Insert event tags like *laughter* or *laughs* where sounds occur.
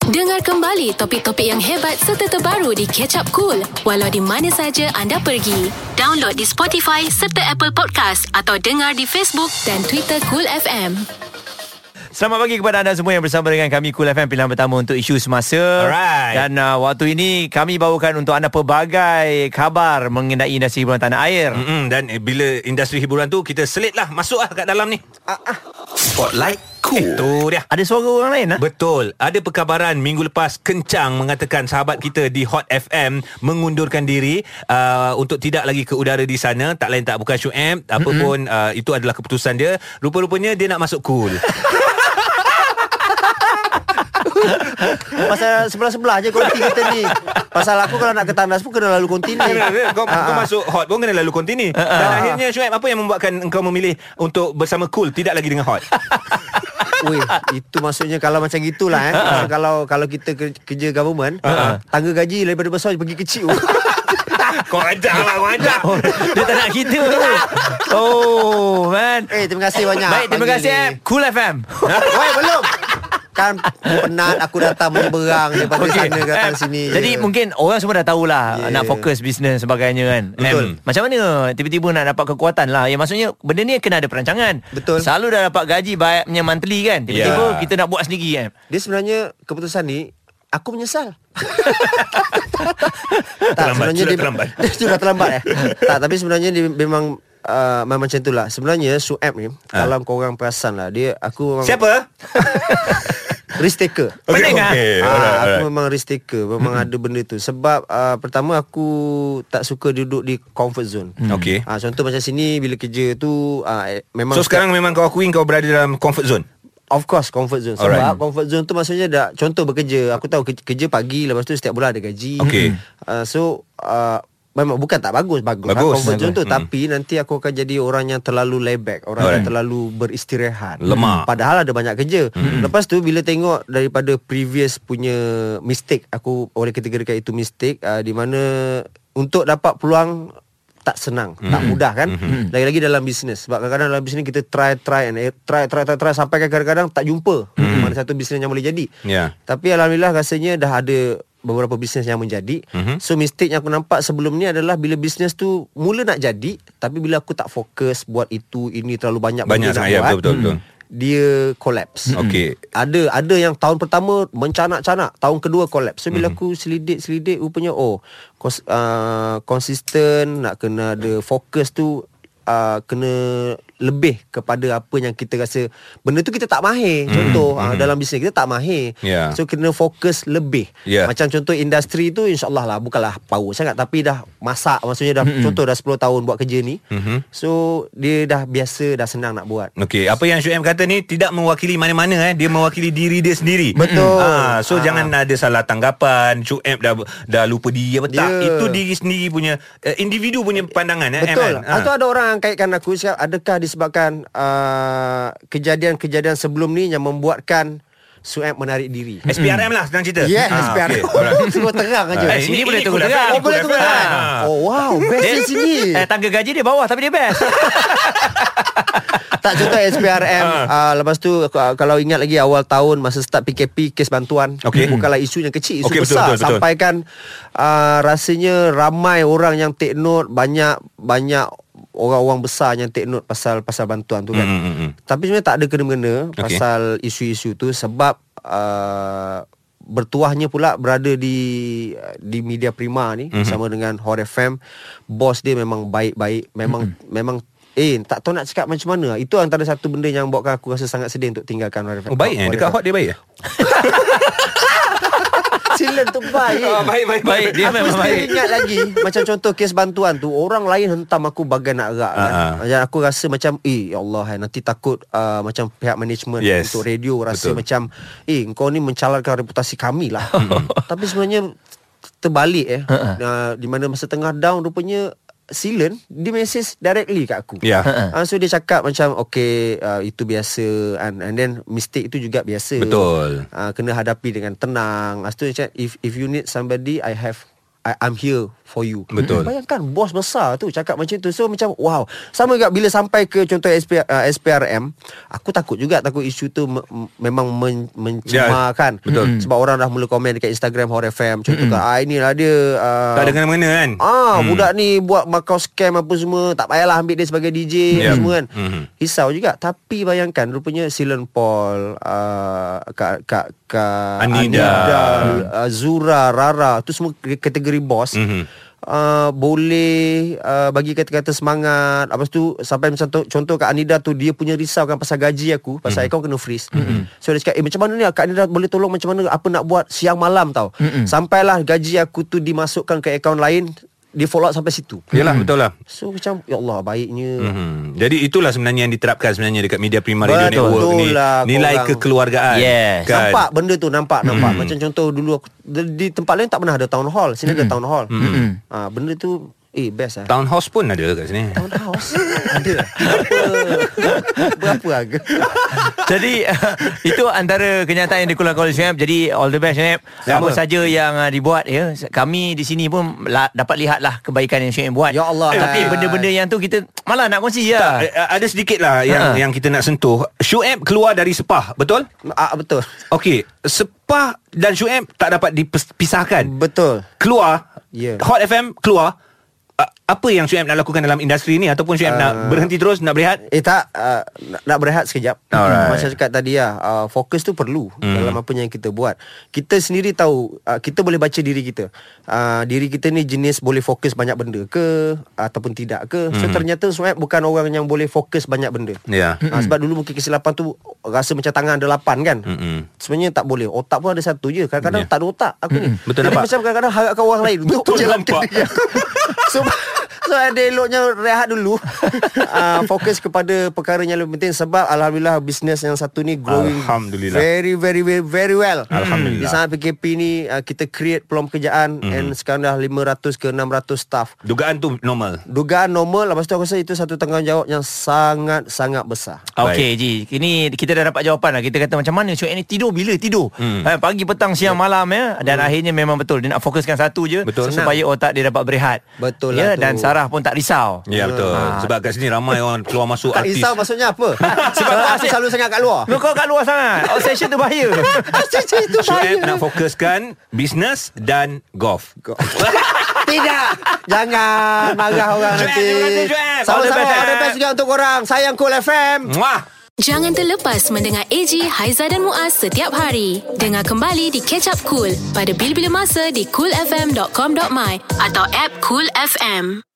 Dengar kembali topik-topik yang hebat serta terbaru di Catch Up Cool walau di mana saja anda pergi. Download di Spotify serta Apple Podcast atau dengar di Facebook dan Twitter Cool FM. Selamat pagi kepada anda semua yang bersama dengan kami Cool FM pilihan pertama untuk isu semasa. Alright. Dan uh, waktu ini kami bawakan untuk anda pelbagai khabar mengenai industri hiburan tanah air. Hmm. Mm. Mm-mm, dan eh, bila industri hiburan tu kita selit lah masuk lah kat dalam ni. Spotlight Cool. Tu dia. Ada suara orang Ha? lain ah? Betul. Ada perkabaran minggu lepas kencang mengatakan sahabat kita di Hot FM mengundurkan diri uh, untuk tidak lagi ke udara di sana. Tak lain tak bukan Syuib. Apa pun uh, itu adalah keputusan dia. Rupa-rupanya dia nak masuk *laughs* cool. Pasal sebelah-sebelah je konti kita ni Pasal aku kalau nak ke tandas pun kena lalu konti ni kau, kau masuk hot pun kena lalu kontini. Dan akhirnya Syuib apa yang membuatkan engkau memilih untuk bersama cool tidak lagi dengan hot? Weh, itu maksudnya kalau macam gitulah eh. Ha. Maksud kalau kalau kita ke- kerja government, ha, tangga gaji daripada besar pergi *laughs* kecil. *laughs* kau ajak lah, kau ajak. Oh, *laughs* dia tak nak kita tu. Oh, man. eh, terima kasih banyak. Baik, terima pagi kasih ni. eh. Cool FM. Weh, belum. Kan penat aku datang menyeberang daripada Okey. okay. sana ke atas Eh, sini. Ya. Jadi je. Ya, mungkin orang semua dah tahulah yeah. Yeah. nak fokus bisnes sebagainya kan. Betul. Em, macam mana tiba-tiba nak dapat kekuatan lah. Ya maksudnya benda ni kena ada perancangan. Betul. Selalu dah dapat gaji baiknya monthly kan. Tiba-tiba yeah. Yeah. kita nak buat sendiri kan. dia sebenarnya keputusan ni aku *laughs* menyesal. Terlambat, sudah terlambat. *laughs* sudah terlambat eh. tak, tapi sebenarnya dia memang uh, memang macam itulah. Sebenarnya Sueb ni, ha. kalau korang perasan lah, dia aku memang *laughs* Siapa? risk taker. Okay, Pening, ah? okay. Ah, Alright, aku alright. memang risk taker Memang ada benda tu Sebab uh, Pertama aku Tak suka duduk di comfort zone Mm. Okay. Ah, Contoh macam sini Bila kerja tu ah, eh, Memang So sekarang memang kau akui kau berada dalam comfort zone. Of course comfort zone Sebab Alright. Alright. comfort zone tu maksudnya dah, Contoh bekerja Aku tahu kerja, kerja pagi Lepas tu setiap bulan ada gaji Okey. uh, So uh, Memang bukan tak bagus Bagus, lah Bagus. Comfort zone Bagus. Mm. tu hmm. Tapi nanti aku akan jadi orang yang terlalu layback Orang Alright. yang terlalu beristirahat Lemah. Padahal ada banyak kerja hmm. Lepas tu bila tengok Daripada previous punya mistake Aku oleh kategorikan itu mistake uh, Di mana Untuk dapat peluang tak senang mm. tak mudah kan mm-hmm. lagi-lagi dalam bisnes sebab kadang-kadang dalam bisnes kita try try and err- try try try, try sampai kadang-kadang tak jumpa mm. mana satu bisnes yang boleh jadi Ya. tapi alhamdulillah rasanya dah ada beberapa bisnes yang menjadi mm-hmm. so mistake yang aku nampak sebelum ni adalah bila bisnes tu mula nak jadi tapi bila aku tak fokus buat itu ini terlalu banyak Banyak benda nak sangat, ya, buat, hmm. betul, betul, betul. dia collapse Okey. ada ada yang tahun pertama mencanak-canak tahun kedua collapse so bila aku selidik-selidik rupanya oh kons- uh, konsisten nak kena ada fokus tu uh, kena lebih kepada apa yang kita rasa benda tu kita tak mahir contoh uh, dalam bisnes kita tak mahir Ya. so kena fokus lebih Ya. macam contoh industri tu insyaallah lah bukanlah power sangat tapi dah masak maksudnya dah contoh dah 10 tahun buat kerja ni so dia dah biasa dah senang nak buat Okey, apa yang Syuib kata ni tidak mewakili mana-mana eh, dia mewakili diri dia sendiri. Betul. Ha, Ah. so ha. jangan ada salah tanggapan. Syuib dah dah lupa diri apa tak. Ya. Itu diri sendiri punya uh, individu punya pandangan eh. Betul. Em, kan? Atau ada orang yang kaitkan aku siap adakah disebabkan uh, kejadian-kejadian sebelum ni yang membuatkan Sueb menarik diri. SPRM lah senang cerita. Yes, Ah, SPR. okey, alright. Okay. *laughs* Semua terang aja. Eh, sini boleh tunggu Cool terang. FM, Oh, boleh Cool tu kan? FM. Ah. Oh, wow. Best di sini. *laughs* Eh tangga gaji dia bawah tapi dia best. Tak ya, contoh SPRM. Ah. uh, lepas tu k- kalau ingat lagi awal tahun masa start PKP kes bantuan Okey. Hmm. bukanlah isu yang kecil, isu Okey, betul, besar betul, betul. sampai kan uh, rasanya ramai orang yang take note banyak banyak orang-orang besar yang take note pasal pasal bantuan tu kan. Mm, mm, mm. Tapi sebenarnya tak ada kena-mengena Okey. pasal isu-isu tu sebab uh, bertuahnya pula berada di di media prima ni Mhm. mm-hmm. sama dengan Hot FM. Bos dia memang baik-baik, Mhm. memang mm-hmm. memang eh tak tahu nak cakap macam mana. Itu antara satu benda yang buatkan aku rasa sangat sedih untuk tinggalkan Hot FM. Oh, baik eh. Dekat *laughs* hot dia baik eh. Sila tu baik. *laughs* baik, baik, baik. Dia aku memang still baik. ingat lagi Macam contoh kes bantuan tu Orang lain hentam aku bagai nak rak kan? Ah, ah. Macam aku rasa macam Eh ya Allah hai, Nanti takut uh, Macam pihak management Yes. Untuk radio Betul. Rasa Betul. macam Eh kau ni mencalarkan reputasi kami *laughs* lah Hmm. Tapi sebenarnya Terbalik eh Ha, uh, Di mana masa tengah down Rupanya Silen Dia message directly kat aku Ya. Ah, so dia cakap macam Okay uh, Itu biasa and, and then mistake itu juga biasa Betul. Ah, uh, Kena hadapi dengan tenang Lepas tu dia cakap If, if you need somebody I have I, I'm here for you. Betul. Bayangkan bos besar tu cakap macam tu. So macam wow. Sama juga bila sampai ke contoh SP, uh, SPRM, aku takut juga takut isu tu me- m- memang men- mencemarkan. Ya, Mm. betul. Sebab orang dah mula komen dekat Instagram Hot FM contoh kan ah inilah dia uh, Tak ada kena-mengena kan? Ah, hmm. budak ni buat makau scam apa semua, tak payahlah ambil dia sebagai DJ Yeah. yeah. semua kan. Mhm. Hmm. Risau juga. Tapi bayangkan rupanya Silen Paul, uh, Kak Kak Kak Anida. uh, Zura, Rara, tu semua k- kategori bos. Mhm. Hmm. Uh, boleh uh, bagi kata-kata semangat Lepas tu Sampai macam tu, contoh Kak Anida tu Dia punya risaukan pasal gaji aku Pasal mm-hmm. account kena freeze mm-hmm. So dia cakap Eh macam mana ni Kak Anida boleh tolong macam mana Apa nak buat siang malam tau mm-hmm. Sampailah gaji aku tu Dimasukkan ke account lain Dia follow up sampai situ Yalah betul lah. So macam Ya Allah baiknya mm-hmm. Hmm. Jadi itulah sebenarnya yang diterapkan sebenarnya dekat Media Prima Radio Betul. Network Betul ni. lah Nilai korang. kekeluargaan. Yes. Kan? Eh, Nampak benda tu Nampak nampak Macam contoh dulu aku, Di di tempat lain tak pernah ada town hall Sini ada town hall ha, Benda tu Eh best lah Town house pun ada kat sini. Ah. Townhouse Ada Berapa Berapa harga Jadi *laughs* uh, itu antara kenyataan yang dikeluarkan oleh Syuib. Jadi all the best Syuib. Ya, Apa apa? saja yang uh, dibuat ya. Kami di sini pun la, dapat lihatlah kebaikan yang Syuib buat. Ya Allah. Tapi Eh. benda-benda yang tu kita malah nak kongsi ya. je. Tak, eh, ada sedikit lah yang, Ha. yang kita nak sentuh. Syuib keluar dari Sepah, betul? ah, Betul Okey, Sepah dan Syuib tak dapat dipisahkan. Betul Keluar, Ya. Hot FM keluar. A- Apa yang Syuib nak lakukan dalam industri ni ataupun Syuib nak Ah. berhenti terus nak berehat? Eh tak uh, nak, nak berehat sekejap Alright. Macam cakap tadi lah uh, Fokus tu perlu mm. Dalam apa yang kita buat Kita sendiri tahu uh, Kita boleh baca diri kita uh, Diri kita ni jenis boleh fokus banyak benda ke Ataupun tidak ke So ternyata Suhaib bukan orang yang boleh fokus banyak benda Ya. Ha, sebab dulu mungkin kesilapan tu Rasa macam tangan ada lapan kan Mm-mm. Sebenarnya tak boleh Otak pun ada satu je Ya. Kadang-kadang tak ada otak aku ni Betul Jadi nampak. macam kadang-kadang harapkan orang lain Betul je nampak. macam dia. *laughs* so, so ada eloknya rehat *laughs* dulu uh, Fokus kepada perkara yang lebih penting Sebab Alhamdulillah Bisnes yang satu ni growing Alhamdulillah. Very very very, very well Alhamdulillah. Di saat PKP ni uh, Kita create peluang pekerjaan And sekarang dah 500 ke 600 staff Dugaan tu normal. Dugaan normal Lepas tu aku rasa itu satu tanggungjawab Yang sangat-sangat besar Okey Ji, kini kita dah dapat jawapan lah. Kita kata macam mana Syuib ni tidur bila tidur? Hmm. Ha, pagi, petang, siang, malam ya. Dan akhirnya memang betul dia nak fokuskan satu je Betul. supaya otak dia dapat berehat. Betul ya, lah tu. dan Sarah pun tak risau. Ha. Ya betul. Ah. Sebab kat sini ramai orang keluar masuk Tak artis. risau maksudnya *laughs* apa? Sebab aku selalu sangat kat luar. Lu kau kat luar sangat. Obsession tu bahaya. *laughs* Cici itu Syuib nak fokuskan bisnes dan golf. *laughs* Tidak. Jangan marah orang Joel, nanti. terima kasih, Joel. Sama-sama. All the best, All the best juga untuk korang. Sayang Cool FM. Muah. Jangan terlepas mendengar AG, Haiza dan Muaz setiap hari. Dengar kembali di Catch Up Cool pada bila-bila masa di coolfm.com.my atau app Cool FM.